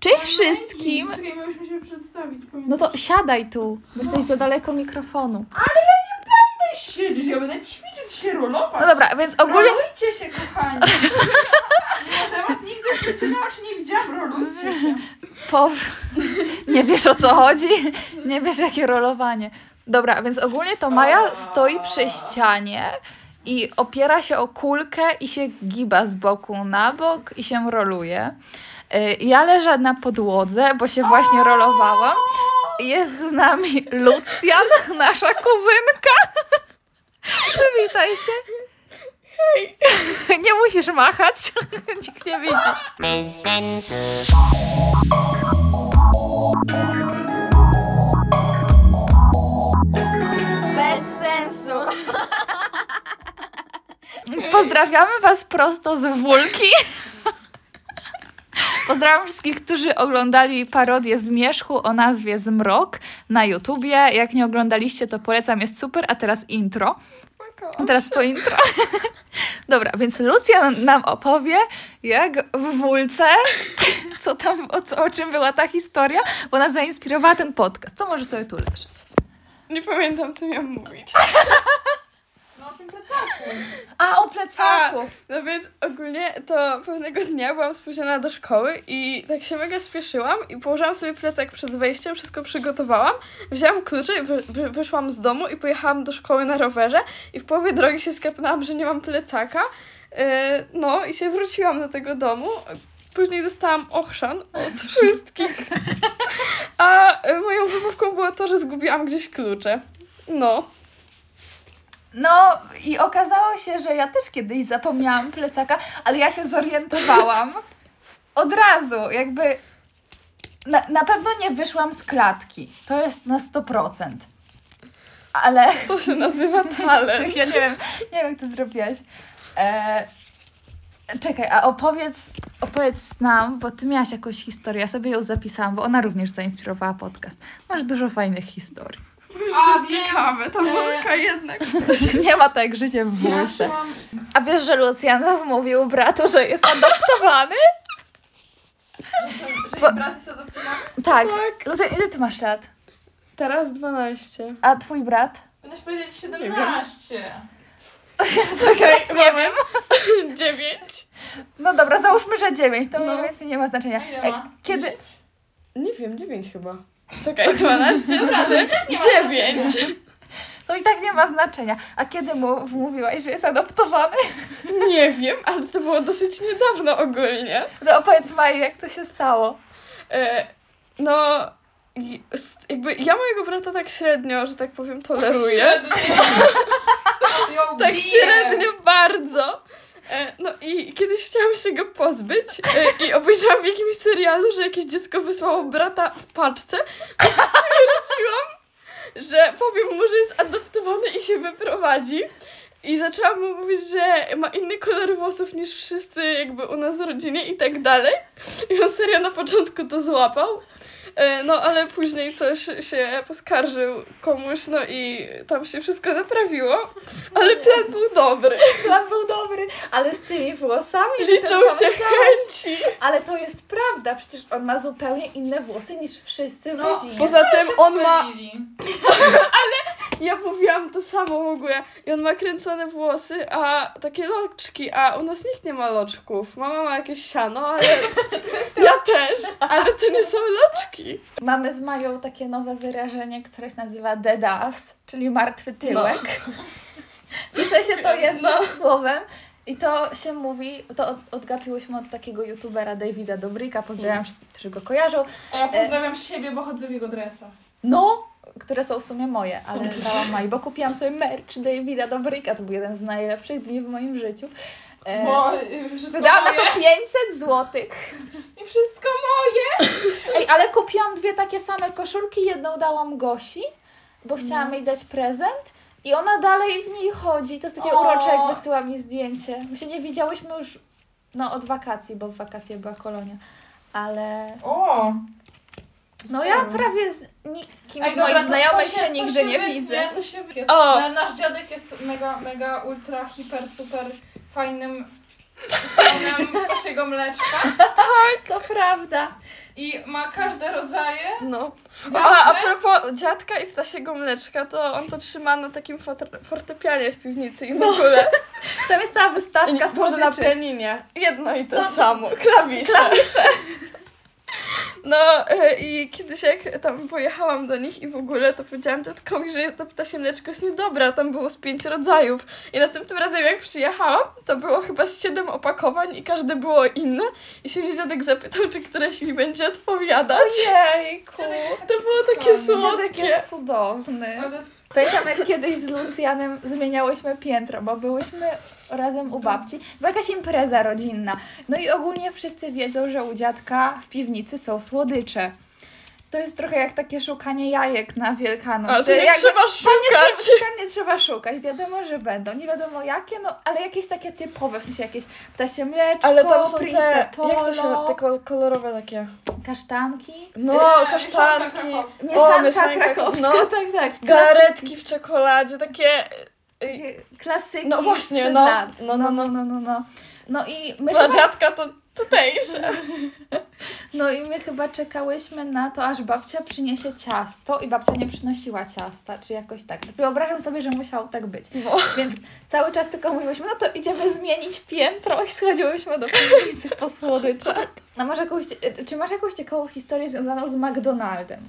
Cześć wszystkim! Czekaj, miałyśmy się przedstawić. Pamiętaj. No to siadaj tu, bo jesteś za daleko mikrofonu. Ty siedzisz, ja będę ćwiczyć się rolować. No dobra, więc ogólnie... Rolujcie się, kochani. Może was nigdy w życiu na oczy nie widziałam, rolujcie się. Pow... Nie wiesz o co chodzi? Nie wiesz jakie rolowanie. Dobra, więc ogólnie to Maja stoi przy ścianie i opiera się o kulkę i się giba z boku na bok i się roluje. Y, Ja leżę na podłodze, bo się właśnie rolowałam. Jest z nami Lucjan, nasza kuzynka. Przywitaj się. Nie musisz machać, nikt nie widzi. Bez sensu. Pozdrawiamy Was prosto z Wólki. Pozdrawiam wszystkich, którzy oglądali parodię Zmierzchu o nazwie Zmrok na YouTubie. Jak nie oglądaliście, to polecam, jest super. A teraz intro. A teraz po intro. Dobra, więc Lucja nam opowie, jak w Wólce, co tam, o, co, o czym była ta historia, bo nas zainspirowała ten podcast. To może sobie tu leżeć. Nie pamiętam, co miałam mówić. No o tym plecaku. A, o plecaku! No więc ogólnie to pewnego dnia byłam spóźniona do szkoły i tak się mega spieszyłam i położyłam sobie plecak przed wejściem, wszystko przygotowałam, wzięłam klucze i wy- wy- wyszłam z domu i pojechałam do szkoły na rowerze i w połowie drogi się skapnęłam, że nie mam plecaka. Yy, No i się wróciłam do tego domu. Później dostałam ochrzan od wszystkich. A y, moją wymówką było to, że zgubiłam gdzieś klucze. No. No i okazało się, że ja też kiedyś zapomniałam plecaka, ale ja się zorientowałam od razu, jakby na, na pewno nie wyszłam z klatki. To jest na 100%. Ale To się nazywa talent. ja nie wiem, nie wiem jak to zrobiłaś. E, czekaj, a opowiedz, opowiedz nam, bo ty miałaś jakąś historię, ja sobie ją zapisałam, bo ona również zainspirowała podcast. Masz dużo fajnych historii. Wiesz, A, to jest wiem. ciekawe, ta E, muzyka jednak. Nie ma tak życie w Ja wózce. szłam... A wiesz, że Lucjan mówił bratu, że jest adoptowany? Że jej Bo- brat jest adoptowany. tak. Tak. Lucjan, ile ty masz lat? Teraz 12. A twój brat? Powinnaś powiedzieć 17. Czekaj, Tak, nie mamy. wiem. 9? No dobra, załóżmy, że 9, to No. mniej więcej nie ma znaczenia. A ile Ej, ma? Kiedy? Nie wiem, 9 chyba. Czekaj, 12, 3, nie ma 9. To i tak nie ma znaczenia. A kiedy mu mówiłaś, że jest adoptowany? Nie wiem, ale to było dosyć niedawno ogólnie. To opowiedz Maji, jak to się stało. E, no, i- s- jakby ja mojego brata tak średnio, że tak powiem, toleruję. Tak średnio bardzo. E, No i kiedyś chciałam się go pozbyć e, i obejrzałam w jakimś serialu, że jakieś dziecko wysłało brata w paczce. Więc Stwierdziłam, że powiem mu, że jest adoptowany i się wyprowadzi. I zaczęłam mu mówić, że ma inny kolor włosów niż wszyscy jakby u nas w rodzinie i tak dalej. I on serio na początku to złapał. E, No ale później coś się poskarżył komuś, no i tam się wszystko naprawiło. Ale plan był dobry. Plan był dobry, ale z tymi włosami... że Liczą ten się pomysł- chęci. Ale to jest prawda, przecież on ma zupełnie inne włosy niż wszyscy w No, rodzinie. Poza tym on ma. Mylili. Ja mówiłam to samo w ogóle. I on ma kręcone włosy, a takie loczki, a u nas nikt nie ma loczków. Mama ma jakieś siano, ale. Ja też, ale to nie są loczki. Mamy z Mają takie nowe wyrażenie, które się nazywa dead ass, czyli martwy tyłek. Pisze się to jednym słowem i to się mówi, to od, odgapiłyśmy od takiego youtubera Davida Dobrika, pozdrawiam wszystkich, którzy go kojarzą, A ja pozdrawiam siebie, bo chodzę w jego dresach. no, które są w sumie moje, ale dałam Mai, bo kupiłam sobie merch Davida Dobryka, to był jeden z najlepszych dni w moim życiu. E, Bo y, wszystko Wydałam na moje. to 500 złotych. I wszystko moje. Ej, ale kupiłam dwie takie same koszulki. Jedną dałam Gosi, bo chciałam jej dać prezent. I ona dalej w niej chodzi. To jest takie O. urocze, jak wysyła mi zdjęcie. My się nie widziałyśmy już no, od wakacji, bo w wakacje była kolonia. Ale O! no ja Super. prawie z nikim Ej, z dobra, moich to- znajomych to się, to nigdy nie wytnie, widzę. To się wytnie. O! Ale Nasz dziadek jest mega, mega, ultra, hiper, super fajnym tonem pasiego mleczka To prawda. i ma każde rodzaje. No. A, a Zawsze propos dziadka i ptasiego mleczka, to on to trzyma na takim fote- fortepianie w piwnicy i w ogóle. Tam jest cała I wystawka może na słodyczy. pianinie. Jedno i to No samo. Klawisze. Klawisze. No e, i kiedyś jak tam pojechałam do nich i w ogóle, to powiedziałam dziadkowi, że to ptasie mleczko jest niedobre, a tam było z pięć rodzajów. I następnym razem jak przyjechałam, to było chyba z siedem opakowań i każde było inne. I się mnie dziadek zapytał, czy któreś mi będzie odpowiadać. Ojejku. dziadek jest taki To było takie skromny. Dziadek słodkie. jest cudowny. Ale Pamiętam, jak kiedyś z Lucjanem zmieniałyśmy piętro, bo byłyśmy razem u babci. Była jakaś impreza rodzinna. No i ogólnie wszyscy wiedzą, że u dziadka w piwnicy są słodycze. To jest trochę jak takie szukanie jajek na Wielkanoc. Ale to że nie Znaczy, jakby- trzeba Tam nie, szukać. trzeba, tam nie trzeba szukać, wiadomo, że będą. Nie wiadomo jakie, no ale jakieś takie typowe, w sensie jakieś ptasie mleczko, Ale tam są te, Prince jak Polo, to się, te kol- kolorowe takie. kasztanki, No, Eee, mieszanka kasztanki, krakowska. mieszanka, mieszanka, krakowska, no. tak, tak. galaretki w czekoladzie, takie... Klasyki, klasyki No właśnie, sprzed no, lat. no, no, no, no. no, no, no. No i my Dla chyba, dziadka to tutejsze. no i my chyba czekałyśmy na to, aż babcia przyniesie ciasto i babcia nie przynosiła ciasta, czy jakoś tak. Wyobrażam sobie, że musiało tak być. No. Więc cały czas tylko mówiłyśmy, no to idziemy zmienić piętro i schodziłyśmy do piwnicy po Tak. słodyczach. A masz jakąś, czy masz jakąś ciekawą historię związaną z McDonaldem?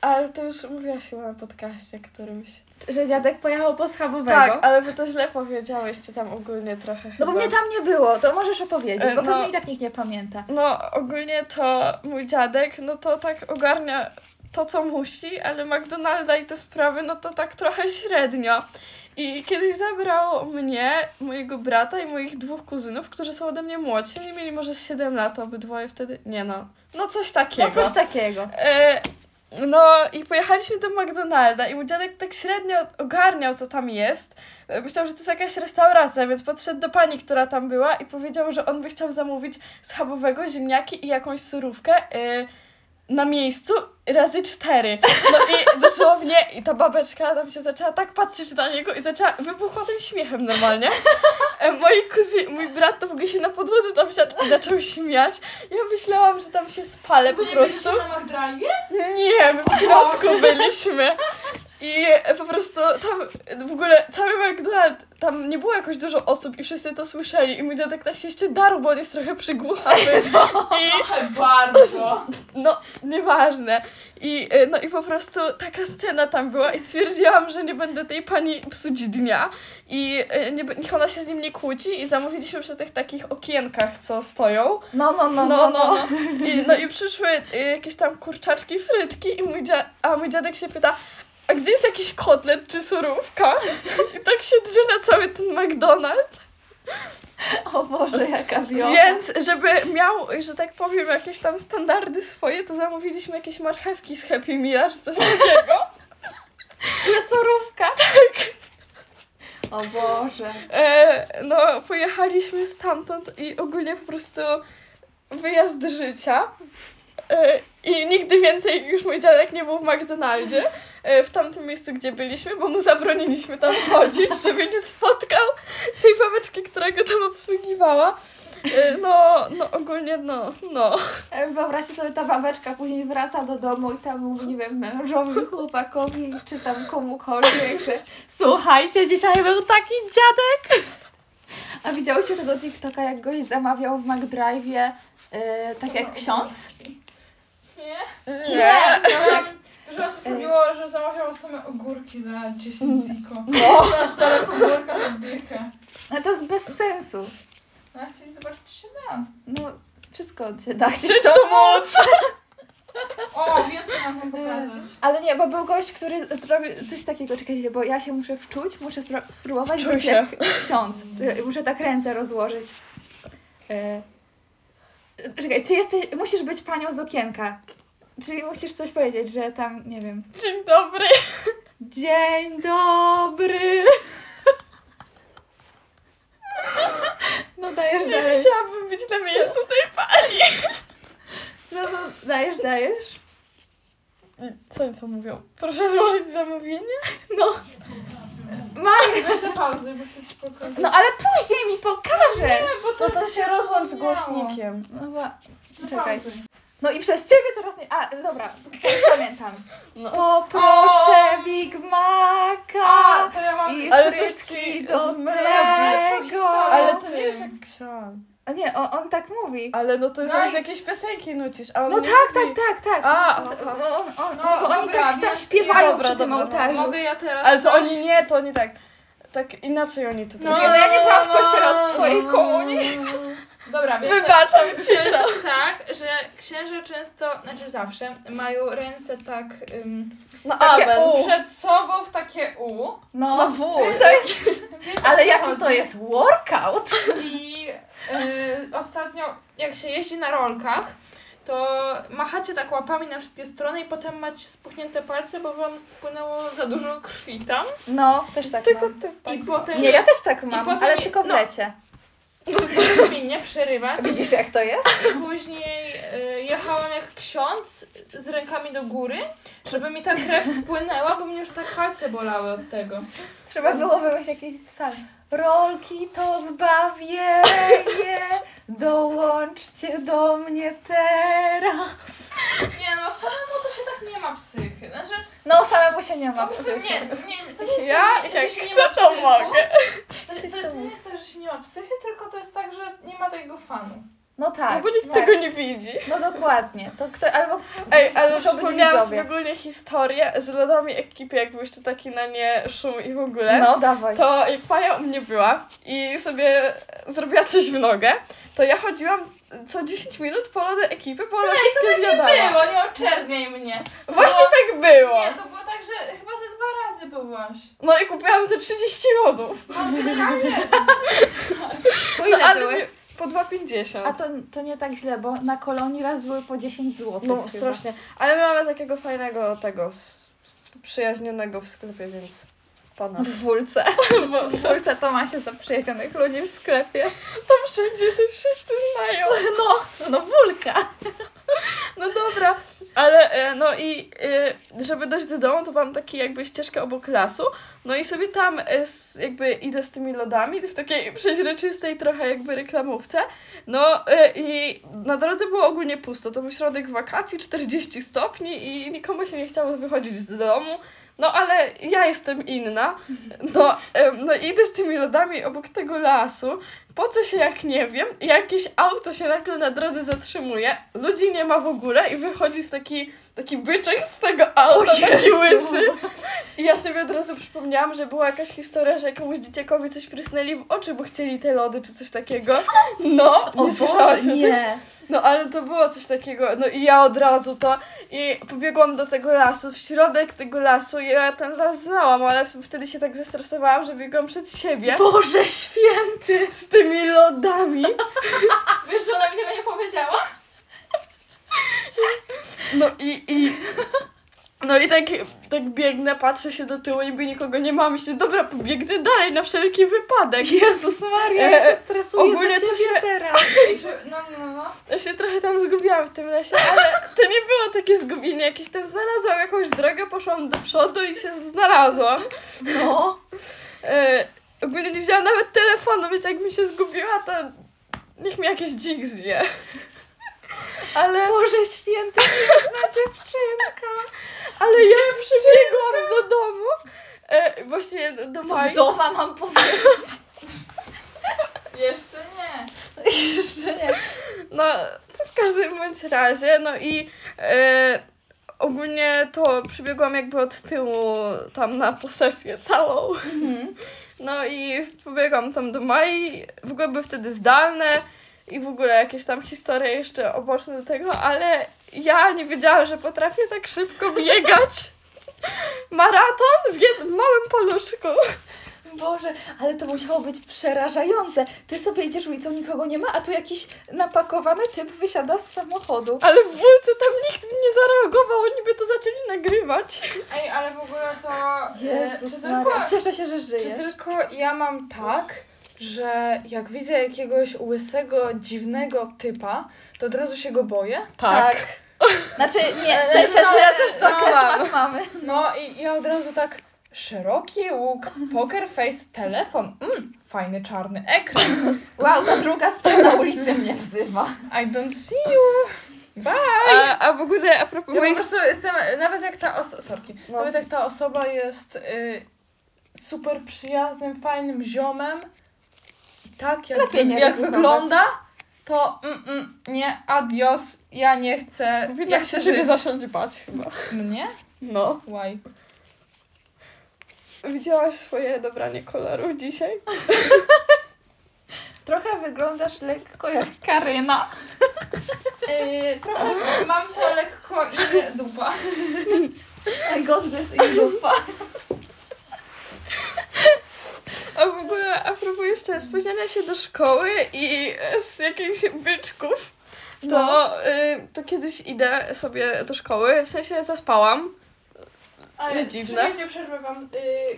Ale to już mówiłaś chyba na podcaście którymś. Że dziadek pojechał po schabowego? Tak, ale wy to źle powiedziałeś, czy tam ogólnie trochę No bo chyba. mnie tam nie było, to możesz opowiedzieć, E, bo no. pewnie i tak nikt nie pamięta. No, ogólnie to mój dziadek, no to tak ogarnia to, co musi, ale McDonalda i te sprawy, no to tak trochę średnio. I kiedyś zabrał mnie, mojego brata i moich dwóch kuzynów, którzy są ode mnie młodsi. Nie mieli może z 7 lat obydwoje wtedy. Nie no. No coś takiego. No coś takiego. E, no i pojechaliśmy do McDonalda i mój dziadek tak średnio ogarniał, co tam jest. E, Myślał, że to jest jakaś restauracja, więc podszedł do pani, która tam była i powiedział, że on by chciał zamówić schabowego, ziemniaki i jakąś surówkę e, na miejscu razy cztery. No i dosłownie i ta babeczka tam się zaczęła tak patrzeć na niego i zaczęła, wybuchła tym śmiechem normalnie. E, Moi kuzy, mój brat to w ogóle się na podłodze tam siadł i zaczął śmiać. Ja myślałam, że tam się spalę po wy nie prostu. byliście na McDrive? Nie, my w środku byliśmy. I po prostu tam w ogóle cały McDonald, tam nie było jakoś dużo osób i wszyscy to słyszeli. I mój dziadek tak się jeszcze darł, bo on jest trochę przygłuchawy. I Trochę bardzo. no, nieważne. I, e, no i po prostu taka scena tam była i stwierdziłam, że nie będę tej pani psuć dnia. I e, nie, b- niech ona się z nim nie kłóci. I zamówiliśmy przy tych takich okienkach, co stoją. No, no, no, No, no, no. I, no i przyszły y, jakieś tam kurczaczki, frytki i mój dzia- a mój dziadek się pyta, a gdzie jest jakiś kotlet czy surówka? I tak się drze na cały ten McDonald's, O Boże, jaka wiosna. więc żeby miał, że tak powiem, jakieś tam standardy swoje, to zamówiliśmy jakieś marchewki z Happy Meala czy coś takiego. Że surówka. Tak. O Boże. E, no, pojechaliśmy stamtąd i ogólnie po prostu wyjazd życia. E, I nigdy więcej już mój dziadek nie był w McDonaldzie, e, w tamtym miejscu, gdzie byliśmy, bo mu zabroniliśmy tam chodzić, żeby nie spotkał tej babeczki, która go tam obsługiwała. E, No, no ogólnie no, no. E, Wyobraźcie sobie, ta babeczka później wraca do domu i tam mówi, nie wiem, mężowi, chłopakowi, czy tam komukolwiek, że słuchajcie, dzisiaj był taki dziadek. A widziałyście tego TikToka, jak goś zamawiał w McDrive'ie, e, tak No. jak ksiądz? Nie? Nie. E! Um, dużo osób robiło, że zamawiało same ogórki za 10 Mm. ziko. No. Na stare podwórka za dychę. Ale No to jest bez sensu. A chcieli zobaczyć czy się da. No, wszystko się da. Przecież to moc! O, wiem co mam wam pokazać. Ale nie, bo był gość, który zrobił coś takiego, czekajcie, bo ja się muszę wczuć, muszę spro- spróbować Wczuj być się. jak ksiądz. Y, Muszę tak ręce rozłożyć. E, Czekaj, ty jesteś, musisz być panią z okienka. Czyli musisz coś powiedzieć, że tam, nie wiem. Dzień dobry! Dzień dobry! No dajesz, Nie dajesz. chciałabym być na miejscu tej pani! No, no, dajesz, dajesz. Co oni tam mówią? Proszę złożyć zamówienie? No. Maj, weź za pauzę, bo chcę ci pokazać. No ale później mi pokażesz! bo No to się rozłącz z głośnikiem. No, ba- No czekaj. pauzuj. no i przez ciebie teraz nie... A, dobra, pamiętam. No. Poproszę O! Big Maca. A, to ja mam... I Ale ale coś coś taki do z melodii. tego. Ale Ale... to nie jest jak ksiądz. Nie, on, on tak mówi. Ale no to Nice. jest jakieś piosenki nucisz, a on No nie tak, mówi. tak, tak, tak. A, Z- z- aha. on, on, No, bo oni dobra, tak tam więc- śpiewają dobra, przy tym dobra, dobra. ołtarzu. Mogę ja teraz Ale to coś? oni nie, to oni tak. Tak inaczej oni to No, Nie, tak. no ja nie byłam w kościele od twojej komunii. Dobra, więc... Wybaczam To ci to. jest tak, że księża często, znaczy zawsze, mają ręce tak ym, No Takie amen. U. przed sobą w takie U. No No, w. to jest, Wiecie, o ale co jaki no, chodzi? to jest workout? I y, ostatnio, jak się jeździ na rolkach, to machacie tak łapami na wszystkie strony i potem macie spuchnięte palce, bo wam spłynęło za dużo krwi tam. No, też tak Tylko mam. ty. I Tak. potem Nie, ja też tak mam, potem ale je- tylko w no. lecie. proszę mi nie przerywać. Widzisz jak to jest? I później y, jechałam jak ksiądz z rękami do góry, żeby mi ta krew spłynęła, bo mnie już tak palce bolały od tego. Trzeba było wymyślić jakiś psalm. Rolki to zbawienie, dołączcie do mnie teraz. Nie no, samemu to się tak nie ma psychy. Znaczy, No, samemu się nie ma. po prostu nie, przecież. nie, to nie jest No. Ja tak, że, jak że się nie chcę, ma to psychu. mogę. To, Coś to, to tam. nie jest tak, że się nie ma psychy, tylko to jest tak, że nie ma tego fanu. No No tak, bo nikt tak. tego nie widzi. no dokładnie. To kto, albo Ej, ale muszą być przypomniałam sobie widzowie. ogólnie historię z lodami ekipy, jak był jeszcze taki na nie szum i w ogóle. No, dawaj. To jak Paja u mnie była i sobie zrobiła coś w nogę, to ja chodziłam co 10 minut po lody ekipy, bo ona wszystkie zjadała. Było, tak nie oczerniaj mnie. Właśnie tak było. Nie, to było tak, że chyba ze dwa razy byłaś. No i kupiłam ze 30 lodów. No generalnie. Po No ile ale były? nie, po 2,50. A to, to nie tak źle, bo na kolonii raz były po 10 zł. No strasznie. Ale my mamy takiego fajnego tego s- przyjaźnionego w sklepie, więc pana. W Wólce. Bo No. W Wólce to ma się zaprzyjaźnionych ludzi w sklepie. tam wszędzie się wszyscy znają. No, no Wólka. No dobra, ale e, no i e, żeby dojść do domu, to mam taki jakby ścieżkę obok lasu. No i sobie tam e, s- jakby idę z tymi lodami w takiej przeźroczystej trochę jakby reklamówce. No e, i na drodze było ogólnie pusto. To był środek wakacji, 40 stopni i nikomu się nie chciało wychodzić z domu. No ale ja jestem inna. No, em, no idę z tymi lodami obok tego lasu. Po co się jak nie wiem, jakieś auto się nagle na drodze zatrzymuje, ludzi nie ma w ogóle i wychodzi z taki, taki byczek z tego auta, taki łysy. I ja sobie od razu przypomniałam, że była jakaś historia, że jakiemuś dzieciakowi coś prysnęli w oczy, bo chcieli te lody czy coś takiego. No, nie słyszałaś o tym? nie. No ale to było coś takiego, no i ja od razu to i pobiegłam do tego lasu, w środek tego lasu i ja ten las znałam, ale w- wtedy się tak zestresowałam, że biegłam przed siebie. Boże święty! Z tymi lodami. Wiesz, że ona mi tego nie powiedziała? No i, i no i tak, tak biegnę, patrzę się do tyłu, niby nikogo nie ma, myślę, dobra, pobiegnę dalej na wszelki wypadek. Jezus Maria, E, ja się stresuję ogólnie za to ciebie się- teraz. I że, no, no, no. Ja się trochę tam zgubiłam w tym lesie, ale to nie było takie zgubienie jakieś. Tam znalazłam jakąś drogę, poszłam do przodu i się znalazłam. No. E, ogólnie nie wzięłam nawet telefonu, więc jak mi się zgubiła, to niech mi jakiś dzik zje. Ale, Boże święty, piękna dziewczynka. ale ja przybiegłam do domu. E, właśnie do- do Co Mai. wdowa mam powiedzieć? Jeszcze nie. Jeszcze nie. No, to w każdym bądź razie, no i e, ogólnie to przybiegłam jakby od tyłu tam na posesję całą. Mhm. No i pobiegłam tam do Mai, w ogóle były wtedy zdalne i w ogóle jakieś tam historie jeszcze oboczne do tego, ale ja nie wiedziałam, że potrafię tak szybko biegać. Maraton w jed- małym paluszku. Boże, ale to musiało być przerażające. Ty sobie idziesz ulicą, nikogo nie ma, a tu jakiś napakowany typ wysiada z samochodu. Ale w wulce tam nikt nie zareagował, oni by to zaczęli nagrywać. Ej, ale w ogóle to... y, czy Jezus tylko, Maria, cieszę się, że czy żyjesz. tylko ja mam tak, że jak widzę jakiegoś łysego, dziwnego typa, to od razu się go boję? Tak. Znaczy, nie, w Znaczy, sensie, no, że ja ja też też tak to mamy. No i ja od razu tak, Szeroki łuk, poker face, telefon, mm, fajny czarny ekran. Wow, ta druga strona ulicy mnie wzywa. I don't see you. A, a w ogóle a Ja propos po moich... prostu jestem, nawet jak ta osoba, sorki, No. nawet jak ta osoba jest y, super przyjaznym, fajnym ziomem, i tak jak, Lepiej nie jak ryzykować. wygląda, to mm, mm, nie, adios, ja nie chcę, ja Powinna chcę tak się żyć. siebie zacząć bać chyba. Mnie? No. Why? Widziałaś swoje dobranie koloru dzisiaj? Trochę wyglądasz lekko jak Karyna. Y, trochę mam to lekko inne dupa. I got this in dupa. A w ogóle a propos jeszcze spóźniania się do szkoły i e, z jakichś byczków, to, y, to kiedyś idę sobie do szkoły, w sensie zaspałam. Ale Ale dziwne. Słuchajcie, przerwę wam.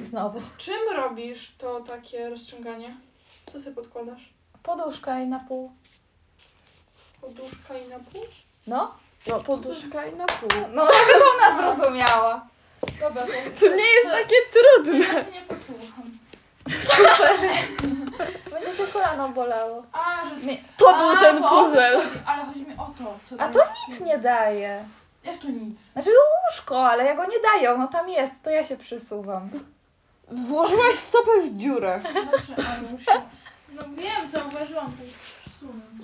Y, Znowu. z czym robisz to takie rozciąganie? Co sobie podkładasz? Poduszka i na pół. Poduszka i na pół? No? No, poduszka i na pół. No nawet ona zrozumiała. Dobra, to, To nie jest takie trudne. Ja się nie posłucham. Będzie cię kolano bolało. A, że... Mi- To A, był ten to o to puzzle. chodzi, Ale chodzi mi o to. Co A to dajesz. nic nie daje. Jak to nic? Znaczy łóżko, ale ja go nie daję, ono tam jest, to ja się przysuwam. Włożyłaś stopę w dziurę. Dobrze, Anusia. No wiem, zauważyłam to.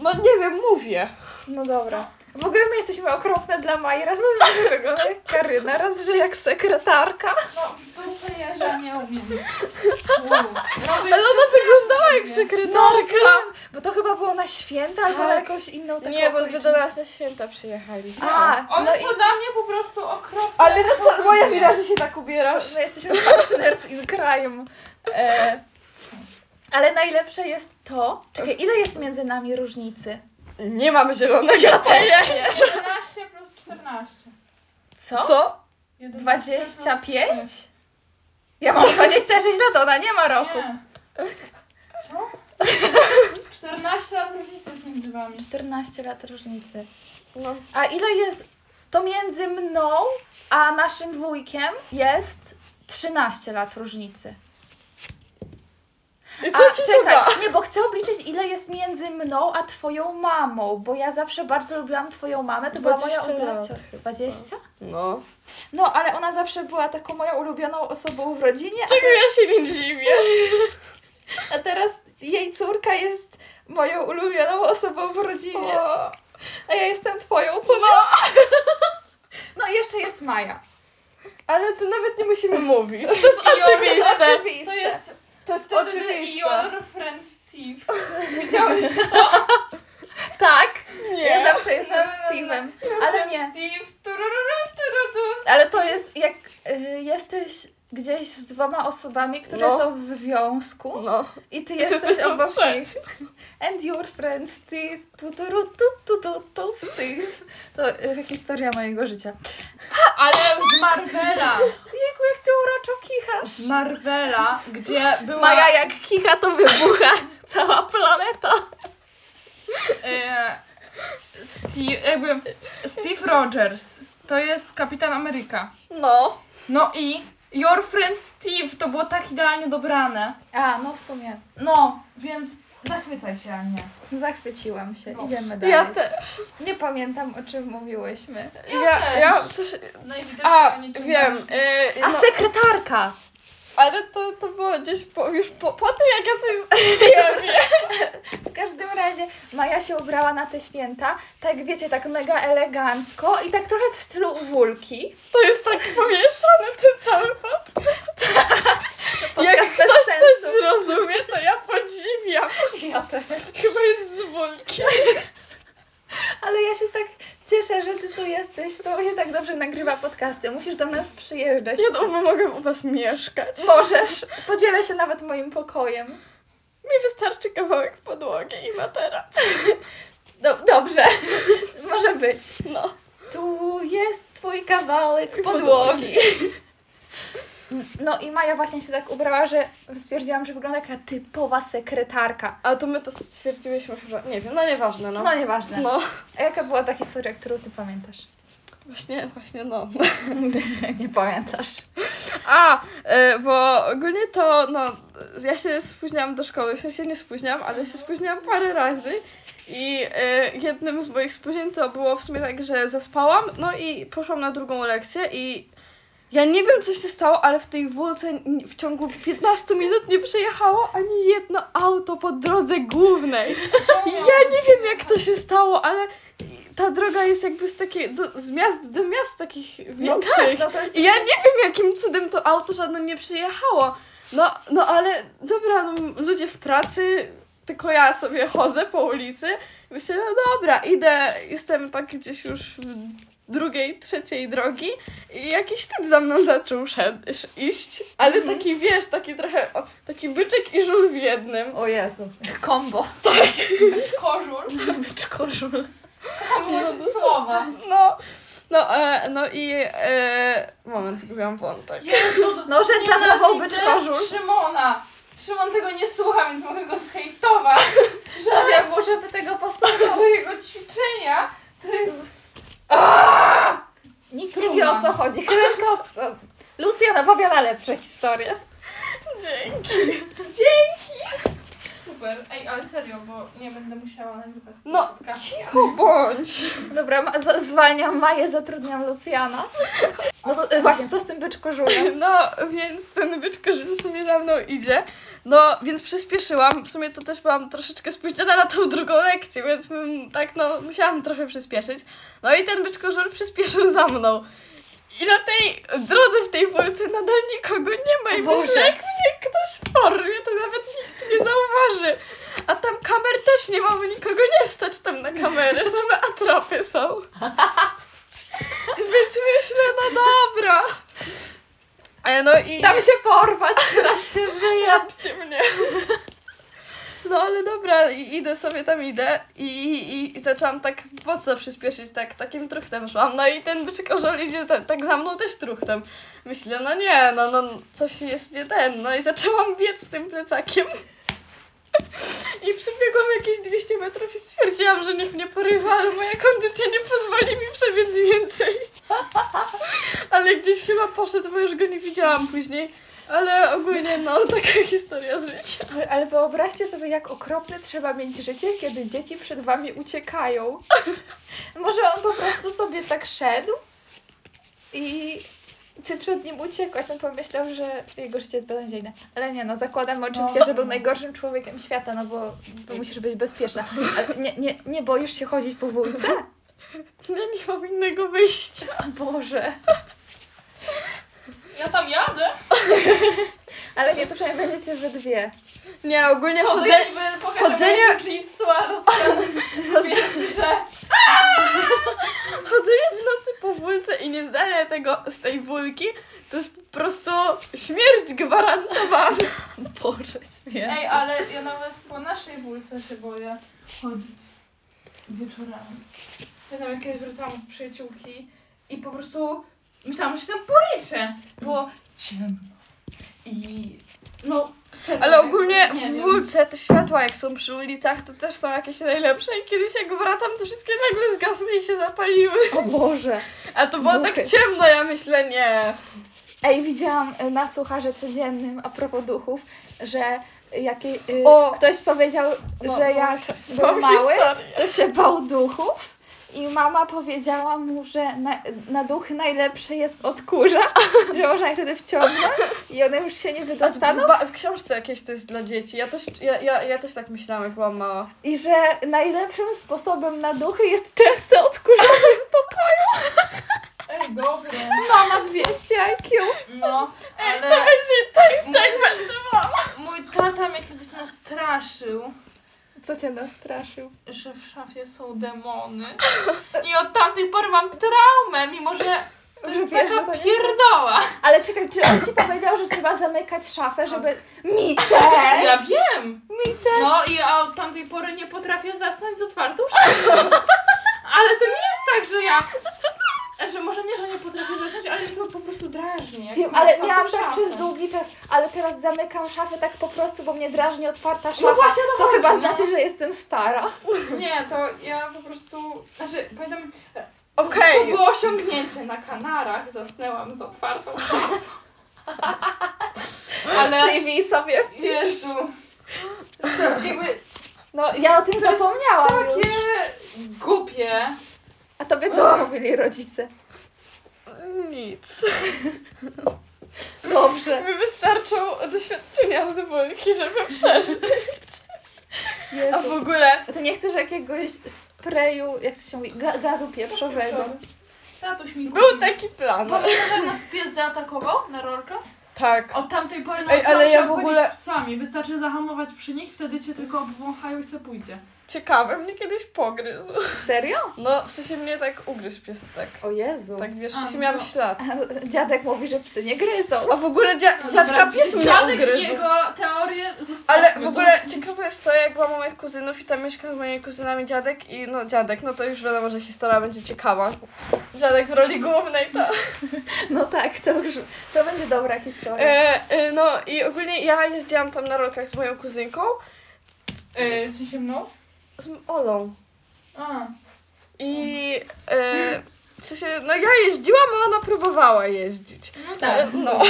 No nie wiem, mówię. No dobra. W ogóle my jesteśmy okropne dla Mai. Raz mówimy, że wygląda jak Karyna, raz, że jak sekretarka. No, dupę ja, że nie umiem. Wow. Ale ona wyglądała jak Tak, sekretarka. Bo to chyba było na święta albo na Tak. jakąś inną taką nie, bo wy do okoliczność. nas na święta przyjechaliście. A, One no są dla mnie po prostu okropne. Ale no to moja wina, że się tak ubierasz. My jesteśmy partners in crime. E, ale najlepsze jest to... Czekaj, ile jest między nami różnicy? Nie mam zielonego. Ja 11 plus 14. Co? Co? 11 plus 25? Ja mam 26 lat, ona nie ma roku. Nie. Co? 14 lat różnicy jest między wami. 14 lat różnicy. No. A ile jest... To między mną a naszym wujkiem jest 13 lat różnicy. I A, co ci to da? Nie, bo chcę obliczyć, ile jest między mną a twoją mamą, bo ja zawsze bardzo lubiłam twoją mamę, to była moja 20 ulubiona lat ciocia. chyba. 20? No. No, ale ona zawsze była taką moją ulubioną osobą w rodzinie, Czego ja się nie dziwię? a teraz jej córka jest moją ulubioną osobą w rodzinie, O, a ja jestem twoją, co no? No i jeszcze jest Maja. Ale to nawet nie musimy mówić. To jest To jest oczywiste. oczywiste. To jest To jest wtedy oczywiste. your friend Steve. Widziałeś Tak, ja Nie. zawsze jestem No, no, z no, Steve'em, your ale friend nie. Steve. Turururu, tururu. Ale to jest jak y, jesteś gdzieś z dwoma osobami, które No. są w związku. No. I ty Ty jesteś jesteś tą obok trzecią. nich. And your friend Steve. Tu, tu, ru, tu, tu, tu, tu, Steve. To y, historia mojego życia. Ale z Marvela. Jejku, jak ty uroczo kichasz. Z Marvela, gdzie była... Maja jak kicha, to wybucha cała planeta. e, Steve, e, jakby Steve Rogers. To jest Kapitan Ameryka. No. No i Your Friend Steve to było tak idealnie dobrane. A, no w sumie. No, więc zachwycaj się, Ania. Zachwyciłam się. Dobrze. Idziemy dalej. Ja też. Nie pamiętam, o czym mówiłyśmy. Ja Ja, też. ja coś... Najwidoczniej A, Ania ciągnie. wiem. y, A no, sekretarka! ale to, to było gdzieś po, już po, po tym, jak ja coś... Nie wiem. W każdym razie Maja się ubrała na te święta, tak wiecie, tak mega elegancko i tak trochę w stylu Wulki. To jest tak pomieszane ten cały podcast. Jak Podcast bez ktoś sensu. coś zrozumie, to ja podziwiam. Ja też. Chyba jest z Wolki. Ale ja się tak cieszę, że ty tu jesteś. Z tobą się tak dobrze nagrywa podcasty. Musisz do nas przyjeżdżać. Ja to mogę u was mieszkać. Możesz. Podzielę się nawet moim pokojem. Mi wystarczy kawałek podłogi i materac. Do, dobrze. Może być. No. Tu jest twój kawałek podłogi. No i Maja właśnie się tak ubrała, że stwierdziłam, że wygląda jak taka typowa sekretarka. A to my to stwierdziłyśmy chyba, nie wiem, no nieważne, no. No nieważne. No. A jaka była ta historia, którą ty pamiętasz? Właśnie, właśnie no. Nie pamiętasz. A, e, bo ogólnie to, no, ja się spóźniałam do szkoły, w sensie nie spóźniałam, ale się spóźniałam parę razy i e, jednym z moich spóźnień to było w sumie tak, że zaspałam, no i poszłam na drugą lekcję i ja nie wiem, co się stało, ale w tej wulce n- w ciągu 15 minut nie przejechało ani jedno auto po drodze głównej. Ja nie wiem, jak to się stało, ale ta droga jest jakby z takiej, do, z miast do miast takich większych. no to jest... I Ja nie wiem, jakim cudem to auto żadne nie przyjechało. No, no ale dobra, no, ludzie w pracy, tylko ja sobie chodzę po ulicy. Myślę, no dobra, idę, jestem tak gdzieś już w drugiej, trzeciej drogi i jakiś typ za mną zaczął szed- sz- iść, ale taki, wiesz, taki trochę, o, taki byczek i żul w jednym. O Jezu. Kombo. Kożur. Bycz kożul. Pomnożyć słowa. No, no, e, no i... E, moment, zgubiłam wątek. Jezu, to No, że nienawidzę zadrapał być kożur. Szymona. Szymon tego nie słucha, więc mogę go zhejtować, Żebym mu, żeby tego posłuchał. że jego ćwiczenia to jest... Nikt nie wie o co chodzi. Helenka... e, Lucja napowiada lepsze historie. Super. Ej, ale serio, bo nie będę musiała nagrywać tego No. podcastu. Cicho bądź! Dobra, ma- z- zwalniam Maję, zatrudniam Lucjana. No to e, właśnie, co z tym byczko żulem? No, więc ten byczko żul sobie za mną idzie. No, więc przyspieszyłam. W sumie to też byłam troszeczkę spóźniona na tą drugą lekcję, więc bym, tak no, musiałam trochę przyspieszyć. No i ten byczko żur przyspieszył za mną. I na tej drodze w tej Polsce nadal nikogo nie ma i Boże. myślę, jak mnie ktoś porwie, to nawet nikt nie zauważy. A tam kamer też nie ma, bo nikogo nie stać tam na kamerę, same atrapy są. Więc myślę, no dobra. E, No i... Tam się porwać, teraz się żyje. Jabcie mnie. No ale dobra, i idę sobie tam idę i, i, i zaczęłam tak mocno przyspieszyć, tak takim truchtem szłam. No i ten byczek orzol idzie ta, tak za mną też truchtem. Myślę, no nie, no, no coś jest nie ten. No i zaczęłam biec z tym plecakiem. I przebiegłam jakieś 200 metrów i stwierdziłam, że niech mnie porywa, ale moja kondycja nie pozwoli mi przebiec więcej. Ale gdzieś chyba poszedł, bo już go nie widziałam później. Ale ogólnie, no, taka historia z życia. Ale wyobraźcie sobie, jak okropne trzeba mieć życie, kiedy dzieci przed wami uciekają. Może on po prostu sobie tak szedł i ty przed nim uciekłaś. On pomyślał, że jego życie jest beznadziejne. Ale nie no, zakładam oczywiście, że był najgorszym człowiekiem świata, no bo tu musisz być bezpieczna. Ale nie, nie, nie boisz się chodzić po wulce? Ja nie mam innego wyjścia. Boże. Ja tam jadę. Ale nie, to przynajmniej będziecie we dwie. Nie, ogólnie Co chodzę... ty niby pokażę chodzenie- moje jiu-jitsu, a Lucja mówi ci, że... Chodzenie w nocy po wólce i nie zdania tego z tej wólki, to jest po prostu śmierć gwarantowana. Boże, śmieję. Ej, ale ja nawet po naszej wulce się boję chodzić wieczorami. Pamiętam, jak kiedyś wracałam od przyjaciółki i po prostu myślałam, że się tam poryczę. Było ciemno. I no, serio, Ale ogólnie nie w wiem. wólce te światła, jak są przy ulicach, to też są jakieś najlepsze. I kiedyś jak wracam, to wszystkie nagle zgasły i się zapaliły. O Boże. A to było tak Duchy. ciemno, ja myślę, nie. Ej, widziałam y, na Sucharze Codziennym a propos duchów, że jakie, y, O! ktoś powiedział, No, że mam- jak był Mam mały, historię. to się bał duchów i mama powiedziała mu, że na, na duchy najlepszy jest odkurzacz, że można je wtedy wciągnąć i one już się nie A z- w, wydostaną ba- w książce jakieś to jest dla dzieci. Ja też, ja, ja, ja też tak myślałam, jak byłam mała. i że najlepszym sposobem na duchy jest często odkurzanie Ej, dobre. mama 200 IQ. No, ale... To jest tak będę mała. Mój tata mnie kiedyś nastraszył, Co cię nastraszył? że w szafie są demony. I od tamtej pory mam traumę, mimo że to Że jest wiesz, że taka to nie- pierdoła. Ale czekaj, czy on ci powiedział, że trzeba zamykać szafę, żeby... Mi Ja wiem. Mi też! No i ja od tamtej pory nie potrafię zasnąć z otwartą szafą. Ale to nie jest tak, że ja... Że może nie, że nie potrafię zasnąć, ale mnie to po prostu drażni. jak Wiem, mam ale otwartą miałam tak szafę. przez długi czas, ale teraz zamykam szafę tak po prostu, bo mnie drażni otwarta szafa. No właśnie o to to chodzi, chyba no. znaczy, że jestem stara. Nie, to ja po prostu... Znaczy, pamiętam, To Okej. było osiągnięcie. Na Kanarach zasnęłam z otwartą szafą. Ale CV sobie. Jezu. To jakby No, ja o tym To jest zapomniałam. już. takie głupie. A tobie co mówili rodzice? Nic. Dobrze. Mi wystarczą doświadczenia z dwójki, żeby przeżyć. A w Jezu. ogóle... Ty nie chcesz jakiegoś sprayu, jak to się mówi, ga- gazu pieprzowego. Tatuś mi Był taki plan. Pamiętasz, jak nas pies zaatakował na rolkach? Tak. Od tamtej pory Ej, nauczyłam ale się ja w obchodzić ogóle- psami. Wystarczy zahamować przy nich, wtedy cię tylko obwąchają i se pójdzie. Ciekawe, mnie kiedyś pogryzł. Serio? No, w sensie mnie tak ugryzł pies, tak. O Jezu. Tak, wiesz, w A, sensie miałam no. ślad. A Dziadek mówi, że psy nie gryzą. A w ogóle dzia- No dziadka dobra, pies mnie dziadek i ugryzł. jego Tak, no teorie zostały. Ale w ogóle ciekawe jest to, jak byłam u moich kuzynów i tam mieszka z moimi kuzynami dziadek i no dziadek, no to już wiadomo, że historia będzie ciekawa. Dziadek w roli głównej to. No tak, to już, to będzie dobra historia. E, e, no i ogólnie ja jeździłam tam na rolkach z moją kuzynką, Yy, się mną? z m- Olą. A. I e, w sensie, no ja jeździłam, a ona próbowała jeździć. No E, tak. No.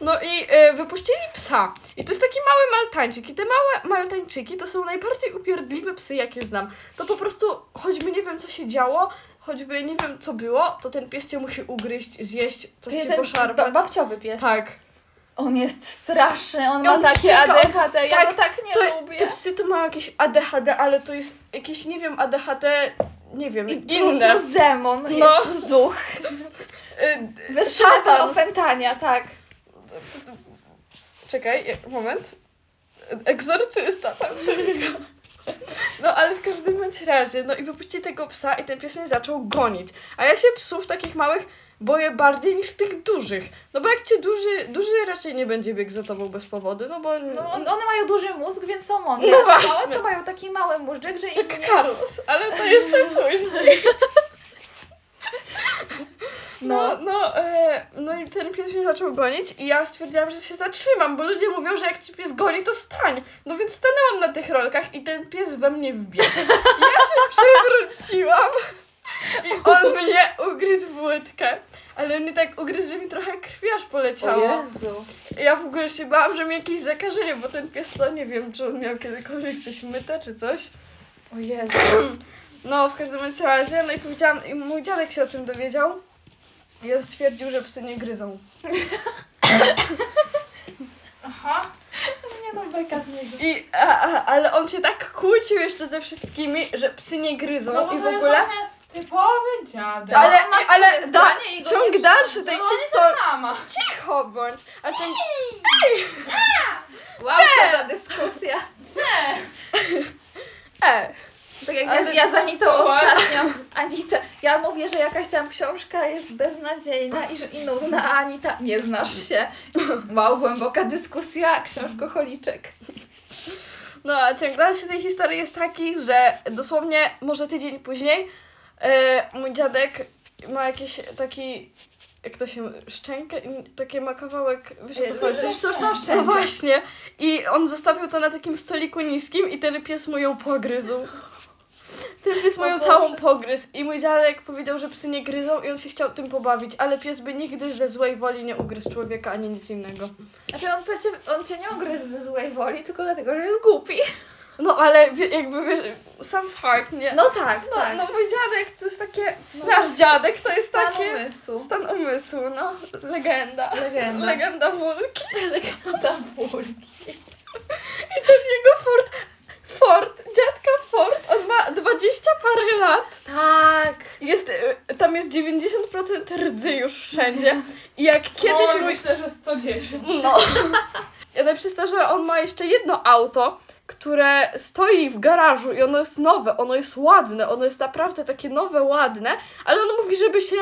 No i e, wypuścili psa. I to jest taki mały maltańczyk. I te małe maltańczyki to są najbardziej upierdliwe psy, jakie znam. To po prostu, choćby nie wiem, co się działo, choćby nie wiem, co było, to ten pies cię musi ugryźć, zjeść, coś Czyli cię ten poszarpać. ba- babciowy pies. tak. On jest straszny, on I ma on takie ścieka, on- ADHD, ja tak, go tak nie To, lubię. te psy to mają jakieś ADHD, ale to jest jakieś, nie wiem, ADHD, nie wiem, I inne. plus demon, No. no. plus duch. E, Wyższy Szatan. level opętania, tak. Czekaj, je- moment. Egzorcysta tam tego. No ale w każdym bądź razie, no i wypuścili tego psa i ten pies mnie zaczął gonić. A ja się psów takich małych boję bardziej niż tych dużych. No bo jak cię duży, duży raczej nie będzie biegł za tobą bez powodu, no bo... No, on, one mają duży mózg, więc są mądre. No A małe właśnie. to mają taki mały mózg, że im Jak nie... Carlos, ale to jeszcze później. No, no, e, no i ten pies mnie zaczął gonić i ja stwierdziłam, że się zatrzymam, bo ludzie mówią, że jak ci pies goni, to stań. No więc stanęłam na tych rolkach i ten pies we mnie wbiegł. Ja się przewróciłam i on mnie ugryzł w łydkę. Ale mnie tak ugryzł, że mi trochę krwi aż poleciało. O Jezu. Ja w ogóle się bałam, że mi jakieś zakażenie, bo ten pies to nie wiem, czy on miał kiedykolwiek coś myte czy coś. O Jezu. No, w każdym bądź razie, no i powiedziałam, i mój dziadek się o tym dowiedział i on stwierdził, że psy nie gryzą. Aha. Nie no, beka z niego. I, a, a, ale on się tak kłócił jeszcze ze wszystkimi, że psy nie gryzą No bo i w to jest ogóle... właśnie No, typowy dziadek. Ale, on ma ale swoje da, zdanie i go nie ciąg dalszy tej No on jest No historii... mama. Cicho bądź! A ciąg... Wow, co za dyskusja. E! Tak jak Ale ja, ja z Anitą co? ostatnio. Anita, ja mówię, że jakaś tam książka jest beznadziejna i, że- i nudna, a Anita, nie znasz się. Wow, głęboka dyskusja, książkoholiczek. No, a ciąg dalszy tej historii jest taki, że dosłownie może tydzień później e, mój dziadek ma jakiś taki... Jak to się... Szczękę? Takie ma kawałek... Wiesz o co chodzi? Sztuczną No szczękę. właśnie. I on zostawił to na takim stoliku niskim i ten pies mu ją pogryzł. Ten pies mu O ją Boże. całą pogryzł. I mój dziadek powiedział, że psy nie gryzą i on się chciał tym pobawić, ale pies by nigdy ze złej woli nie ugryzł człowieka ani nic innego. Znaczy on, cię, on cię nie ugryzł ze złej woli, tylko dlatego, że jest głupi. No ale wie, jakby wiesz, sam fakt, nie? No tak, no, tak. no mój dziadek to jest takie... No. Nasz dziadek to jest Stan takie... umysłu. Stan umysłu, no. Legenda. Legenda. Legenda wulki. Legenda wulki. Jego Ford... Ford, dziadka Ford, on ma 20 parę lat. Tak. Jest, y, tam jest 90% rdzy już wszędzie. I jak kiedyś Kiedyś mój... myślę, że 110. No. Ale przez to, że on ma jeszcze jedno auto, które stoi w garażu i ono jest nowe, ono jest ładne, ono jest naprawdę takie nowe, ładne, ale on mówi, żeby się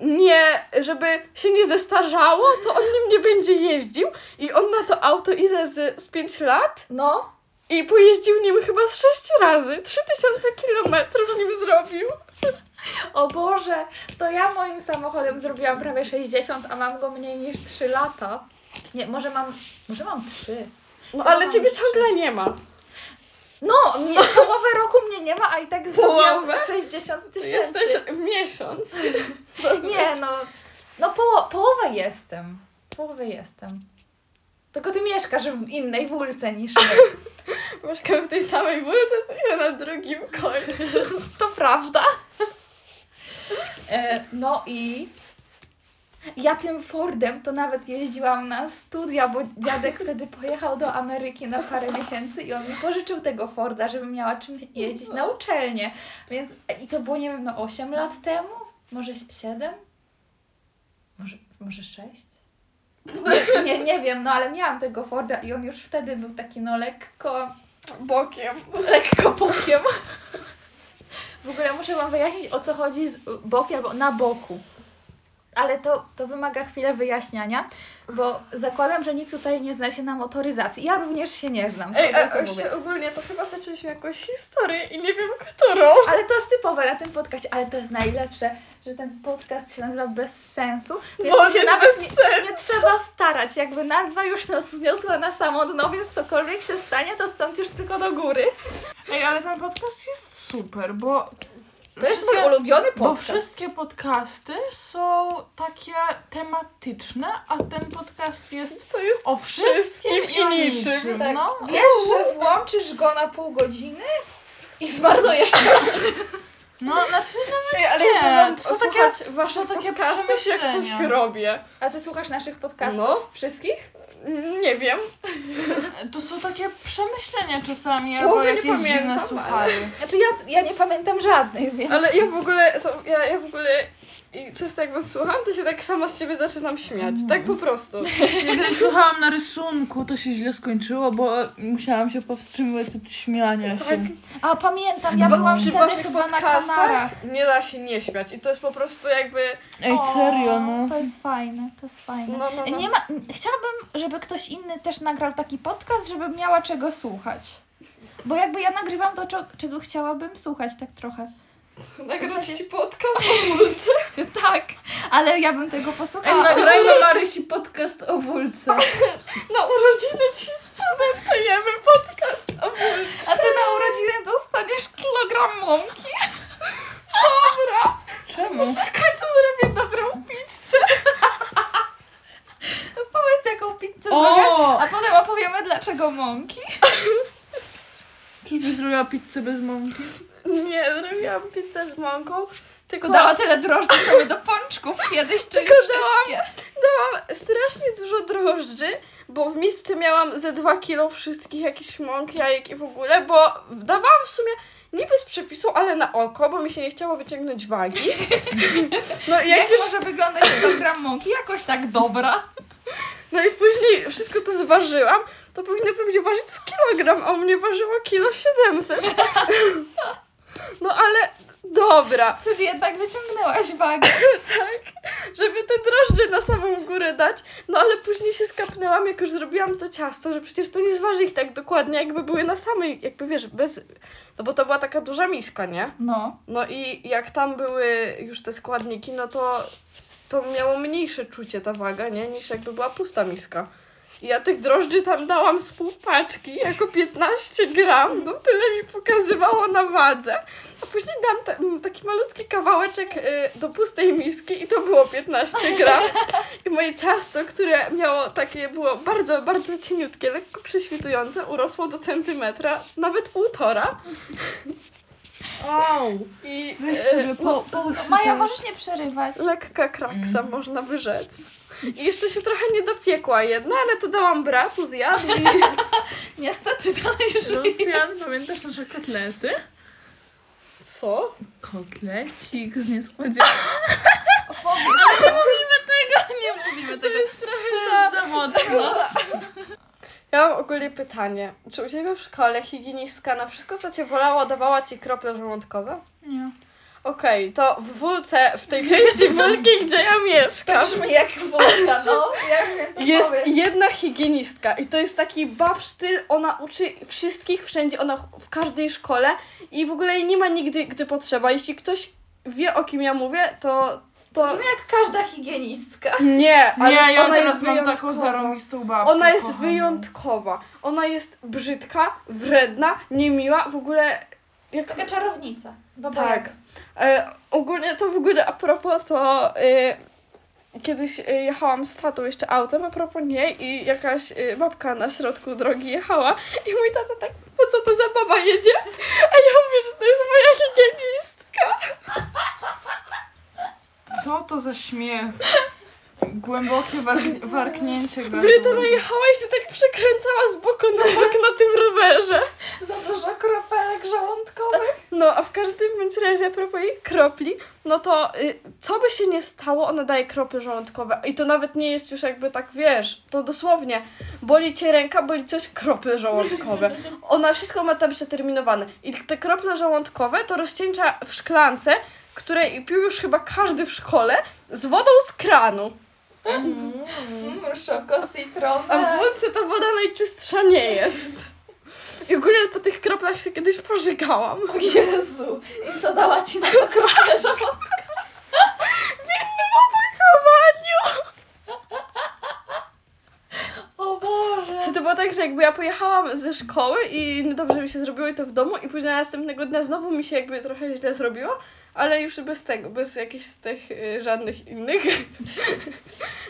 nie, żeby się nie zestarzało, to on nim nie będzie jeździł i on na to auto ile z, z 5 lat No, i pojeździł nim chyba z 6 razy, 3000 kilometrów nim zrobił. o Boże, to ja moim samochodem zrobiłam prawie 60, a mam go mniej niż 3 lata. Nie, może mam, może mam 3. No ale ciebie ciągle nie ma. No, mnie, połowę roku mnie nie ma, a i tak zrobiłam Połowę? 60 Ty tysięcy. jesteś miesiąc. Zazwyczaj. Nie no, no poło, połowę jestem. Połowę jestem. Tylko ty mieszkasz w innej wulce niż my. Mieszkamy w tej samej wulce, to ja na drugim końcu. To prawda. E, no i ja tym Fordem to nawet jeździłam na studia, bo dziadek wtedy pojechał do Ameryki na parę miesięcy i on mi pożyczył tego Forda, żebym miała czym jeździć na uczelnię. Więc i to było, nie wiem, no 8 lat temu? Może 7? Może, może 6? Nie, nie, nie wiem, no ale miałam tego Forda i on już wtedy był taki no lekko Bokiem. No, lekko bokiem. W ogóle muszę Wam wyjaśnić, o co chodzi z boki albo na boku. Ale to, to wymaga chwilę wyjaśniania, bo zakładam, że nikt tutaj nie zna się na motoryzacji. Ja również się nie znam. to Ej, no, od a razu już mówię. ogólnie to chyba zaczęliśmy jakąś historię i nie wiem którą. Ale to jest typowe na tym podcaście, ale to jest najlepsze, że ten podcast się nazywa Bez Sensu. Więc Bo tu się jest nawet bez nie, sensu. nie trzeba starać. Jakby nazwa już nas zniosła na samo dno, więc cokolwiek się stanie, to stąd już tylko do góry. Ej, ale ten podcast jest super, bo... To jest wszystkie- mój ulubiony Bo podcast. wszystkie podcasty są takie tematyczne, a ten podcast jest To jest o wszystkim i o niczym. niczym. Tak. No. Wiesz, że włączysz go na pół godziny i zmarnujesz czas. No, znaczy nawet Ej, ale nie, ja powinna to są posłuchać takie- wasze to są takie podcastów, jak coś przemyślenia. robię. A ty słuchasz naszych podcastów? No. Wszystkich? Nie wiem. no, to są takie przemyślenia czasami, Połowy albo nie jakieś dziwne pamiętam, suchary. Znaczy ja, ja nie pamiętam żadnych, więc... Ale ja w ogóle, są- ja, ja w ogóle i często jak was słucham, to się tak sama z ciebie zaczynam śmiać. Mhm. Tak po prostu. Ja kiedyś słuchałam na rysunku, to się źle skończyło, bo musiałam się powstrzymywać od śmiania Tak, się. A pamiętam, ja byłam przy wtedy waszych chyba na podcastach? Kanarach. nie da się nie śmiać. I to jest po prostu jakby, Ej, serio, O, no. To jest fajne, to jest fajne. no, no, no. Nie ma... Chciałabym, żeby ktoś inny też nagrał taki podcast, żebym miała czego słuchać. Bo jakby ja nagrywam to, czo- czego chciałabym słuchać tak trochę. Nagrać w sensie- ci podcast o mulce. Tak, ale ja bym tego posłuchała. no. nagrajmy Marysi podcast o wulce. Na urodziny ci sprezentujemy podcast o A ty na urodziny dostaniesz kilogram mąki. Dobra, Czemu? w końcu zrobię dobrą pizzę. No Powiedz jaką pizzę O! zrobisz, a potem opowiemy dlaczego mąki. Czyżbyś zrobiła pizzę bez mąki? Nie, zrobiłam pizzę z mąką, tylko Dała tyle drożdży sobie do pączków kiedyś, czyli Tylko wszystkie. dałam strasznie dużo drożdży, bo w misce miałam ze 2 kilo wszystkich jakichś mąk, jajek i w ogóle, bo dawałam w sumie niby z przepisu, ale na oko, bo mi się nie chciało wyciągnąć wagi. No i Jak, jak już może wyglądać kilogram mąki? Jakoś tak dobra. No i później wszystko to zważyłam, to powinno pewnie ważyć z kilogram, a u mnie ważyło kilo 700. No ale dobra, Czyli jednak wyciągnęłaś wagę. żeby te drożdże na samą górę dać, no ale później się skapnęłam, jak już zrobiłam to ciasto, że przecież to nie zważy ich tak dokładnie, jakby były na samej, jakby wiesz, bez... No bo to była taka duża miska, nie? No. No i jak tam były już te składniki, no to, to miało mniejsze czucie ta waga, nie? Niż jakby była pusta miska. I ja tych drożdży tam dałam z pół paczki, jako 15 gram, no tyle mi pokazywało na wadze. A później dałam ta, m, taki malutki kawałeczek y, do pustej miski i to było 15 gram. I moje ciasto, które miało takie, było bardzo, bardzo cieniutkie, lekko prześwitujące, urosło do centymetra, nawet półtora. Wow. I Weź y, sobie No, po, po Maja, możesz nie przerywać. Lekka kraksa można wyrzec. I jeszcze się trochę nie dopiekła jedna, ale to dałam bratu, zjadł i... Niestety dalej żyje. Lucjan, pamiętasz nasze kotlety? Co? Kotlecik z niespodzianką. Opowiedz. Nie mówimy tego. To jest trochę za, za mocno. Ja mam ogólnie pytanie. Czy u Ciebie w szkole higienistka na wszystko, co Cię bolało, dawała Ci krople żołądkowe? Nie. Okej, to w wulce, w tej części wulki, gdzie ja mieszkam, Brzmi jak wódka, no. Ja już wiem, co jest powiem. jedna higienistka i to jest taki babsztyl, ona uczy wszystkich wszędzie, ona ch- w każdej szkole i w ogóle jej nie ma nigdy, gdy potrzeba. Jeśli ktoś wie, o kim ja mówię, to to... Brzmi jak każda higienistka. Nie, ale nie, ja ona teraz jest mam taką wyjątkowa. zarąbistą babkę, Ona jest kochani. wyjątkowa. Ona jest brzydka, wredna, niemiła, w ogóle jak Taka czarownica. Baba Tak. Jaga. E, ogólnie to w ogóle a propos to e, kiedyś e, jechałam z tatą jeszcze autem a propos niej i jakaś e, babka na środku drogi jechała i mój tata tak, no co to za baba jedzie? A ja mówię, że to jest moja higienistka. Co to za śmiech? Głębokie wark- warknięcie Brytona jechała i się tak przekręcała z boku na bok na tym rowerze. Za dużo kropelek żołądkowych. No, a w każdym bądź razie a propos jej kropli, no to y, co by się nie stało, ona daje krople żołądkowe. I to nawet nie jest już jakby tak, wiesz, to dosłownie. Boli cię ręka, boli coś krople żołądkowe. Ona wszystko ma tam przeterminowane. I te krople żołądkowe to rozcieńcza w szklance, której pił już chyba każdy w szkole, z wodą z kranu. Mm, szoko A w citrona. budce ta woda najczystsza nie jest. I ogólnie po tych kroplach się kiedyś pożygałam. O Jezu. I co dała ci na to krople żołądkowe? W innym opakowaniu! O Boże. Czy to było tak, że jakby ja pojechałam ze szkoły i niedobrze mi się zrobiło i to w domu i później następnego dnia znowu mi się jakby trochę źle zrobiło, ale już bez tego, bez jakichś z tych y, żadnych innych.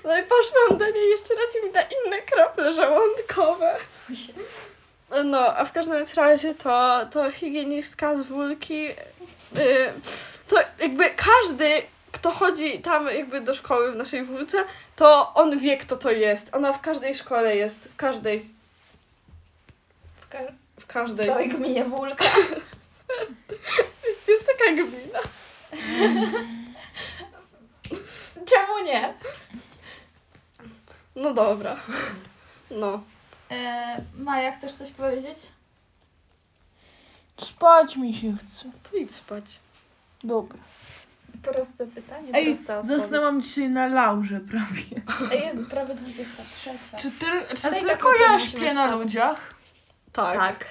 No i poszłam do niej jeszcze raz i mi da inne krople żołądkowe. No, a w każdym razie to, to higienistka z Wólki, y, to jakby każdy, kto chodzi tam jakby do szkoły w naszej Wólce, to on wie, kto to jest. Ona w każdej szkole jest, w każdej, w W każdej. całej gminie Wólka. Jest, jest taka gmina. Czemu nie? No dobra. No. E, Maja, chcesz coś powiedzieć? Spać mi się chce. To idź spać. Dobra. Proste pytanie, Ej, prosta odpowiedź. Zasnęłam dzisiaj na laurze prawie. Ej, Jest prawie 23. Czy, ty, czy Ale i tak tylko o tym ja musimy śpię na wstawać. ludziach? Tak. Tak.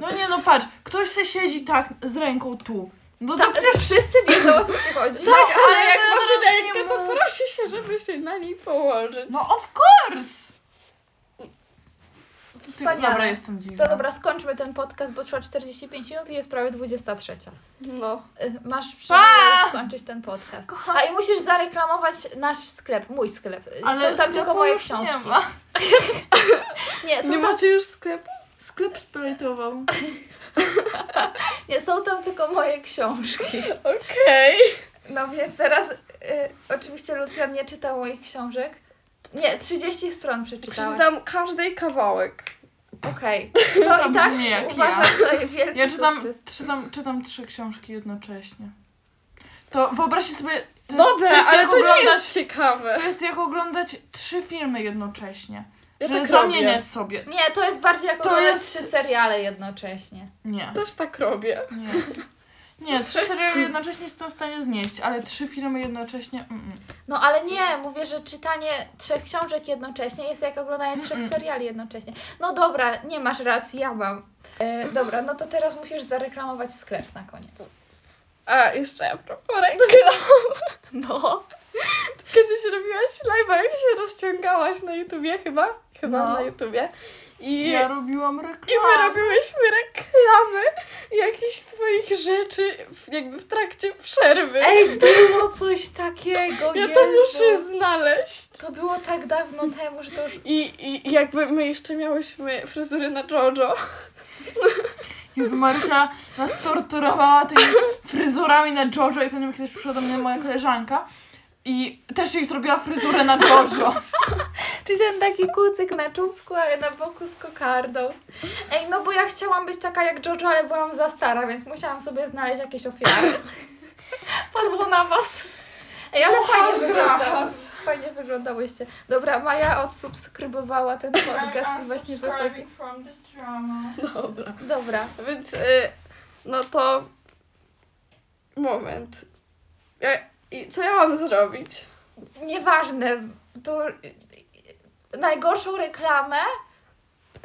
No nie no, patrz, ktoś se siedzi tak z ręką tu. No Tak, tak, tak. Wszyscy wiedzą, o co ci chodzi. Tak, ale jak ale masz teraz nie rękę, to ma- prosi się, żeby się na niej położyć. no of course! Ty- Wspaniale. Dobra, jestem dziwna. Tak. To dobra, skończmy ten podcast, bo trwa 45 minut i jest prawie 23. No. Y, Masz przyjemność skończyć ten podcast. A i musisz zareklamować nasz sklep, mój sklep. Y, Ale są tam tylko sklepu moje już książki. Nie, ma. Nie, są Nie tam, macie już sklepu? Sklep splejtował. nie, są tam tylko moje książki. Okej. No więc teraz, y, oczywiście Lucjan nie czytał moich książek. Nie, 30 stron przeczytałeś. Przeczytam każdej kawałek. Okej. To To i tak brzmi jak uważam ja. za wielki Ja czytam, sukces. czytam, czytam trzy książki jednocześnie. To wyobraźcie sobie... To jest, Dobra, to jest ale jak to nie oglądać, jest ciekawe. To jest jak oglądać trzy filmy jednocześnie. Ja że tak zamieniać robię. sobie. Nie, to jest bardziej jak To to jest jest- trzy seriale jednocześnie. Nie, Też tak robię. nie. Nie, trzy serialy jednocześnie jestem w stanie znieść, ale trzy filmy jednocześnie... Mm, mm. No ale nie, mówię, że czytanie trzech książek jednocześnie jest jak oglądanie trzech Mm-mm. seriali jednocześnie. No dobra, nie masz racji, ja mam. E, dobra, no to teraz musisz zareklamować sklep na koniec. A, jeszcze a propos ręki. No, Kiedyś robiłaś live'a, jak się rozciągałaś na YouTubie chyba? Chyba No. na YouTubie. I, Ja robiłam reklamę. I my robiłyśmy reklamy jakichś twoich rzeczy w, jakby w trakcie przerwy. Ej, było coś takiego, ja Jezu. to muszę znaleźć. To było tak dawno temu, że to już... I, I jakby my jeszcze miałyśmy fryzury na Jojo. Jezu Marysia nas torturowała tymi fryzurami na Jojo i potem kiedyś przyszła do mnie moja koleżanka i też jej zrobiła fryzurę na Jojo. Czyli ten taki kucyk na czubku, ale na boku z kokardą. Ej, no bo ja chciałam być taka jak Jojo, ale byłam za stara, więc musiałam sobie znaleźć jakieś ofiary. Padło na was. Ej, ale fajnie wyglądało. grachas. Fajnie wyglądałyście. Dobra, Maja odsubskrybowała ten podcast i właśnie wychodzi. from this drama. Dobra. Dobra. Więc y, no to... Moment. Ja, i co ja mam zrobić? Nieważne. To y, najgorszą reklamę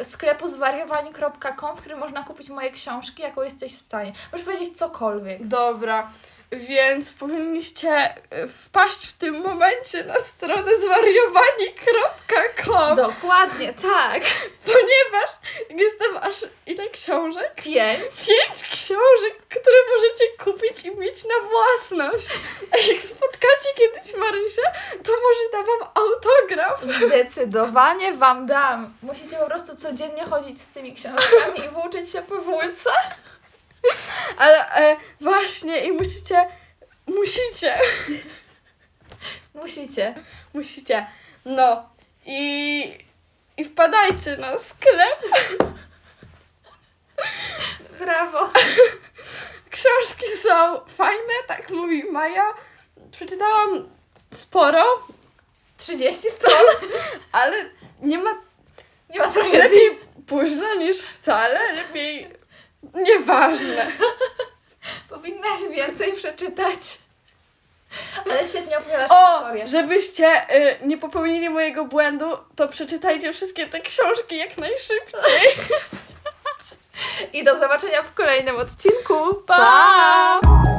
sklepu zwariowani.com, w którym można kupić moje książki, jaką jesteś w stanie. Możesz powiedzieć cokolwiek. Dobra. Więc powinniście e, wpaść w tym momencie na stronę zwariowani.com, Dokładnie, tak. ponieważ jestem aż ile książek? Pięć. Pięć książek, które możecie kupić i mieć na własność. A jak spotkacie kiedyś Marysię, to może da wam autograf. Zdecydowanie wam dam. Musicie po prostu codziennie chodzić z tymi książkami i włóczyć się po wólce. Ale e, właśnie i musicie, musicie, Musicie. musicie. No i, i wpadajcie na sklep. Brawo. Książki są fajne, tak mówi Maja. Przeczytałam sporo, 30 stron. ale nie ma Nie ma tragedii. Lepiej późno niż wcale, lepiej nieważne. Powinnaś więcej przeczytać. Ale świetnie opowiadasz O, historię. żebyście y, nie popełnili mojego błędu, to przeczytajcie wszystkie te książki jak najszybciej. I do zobaczenia w kolejnym odcinku. Pa! pa!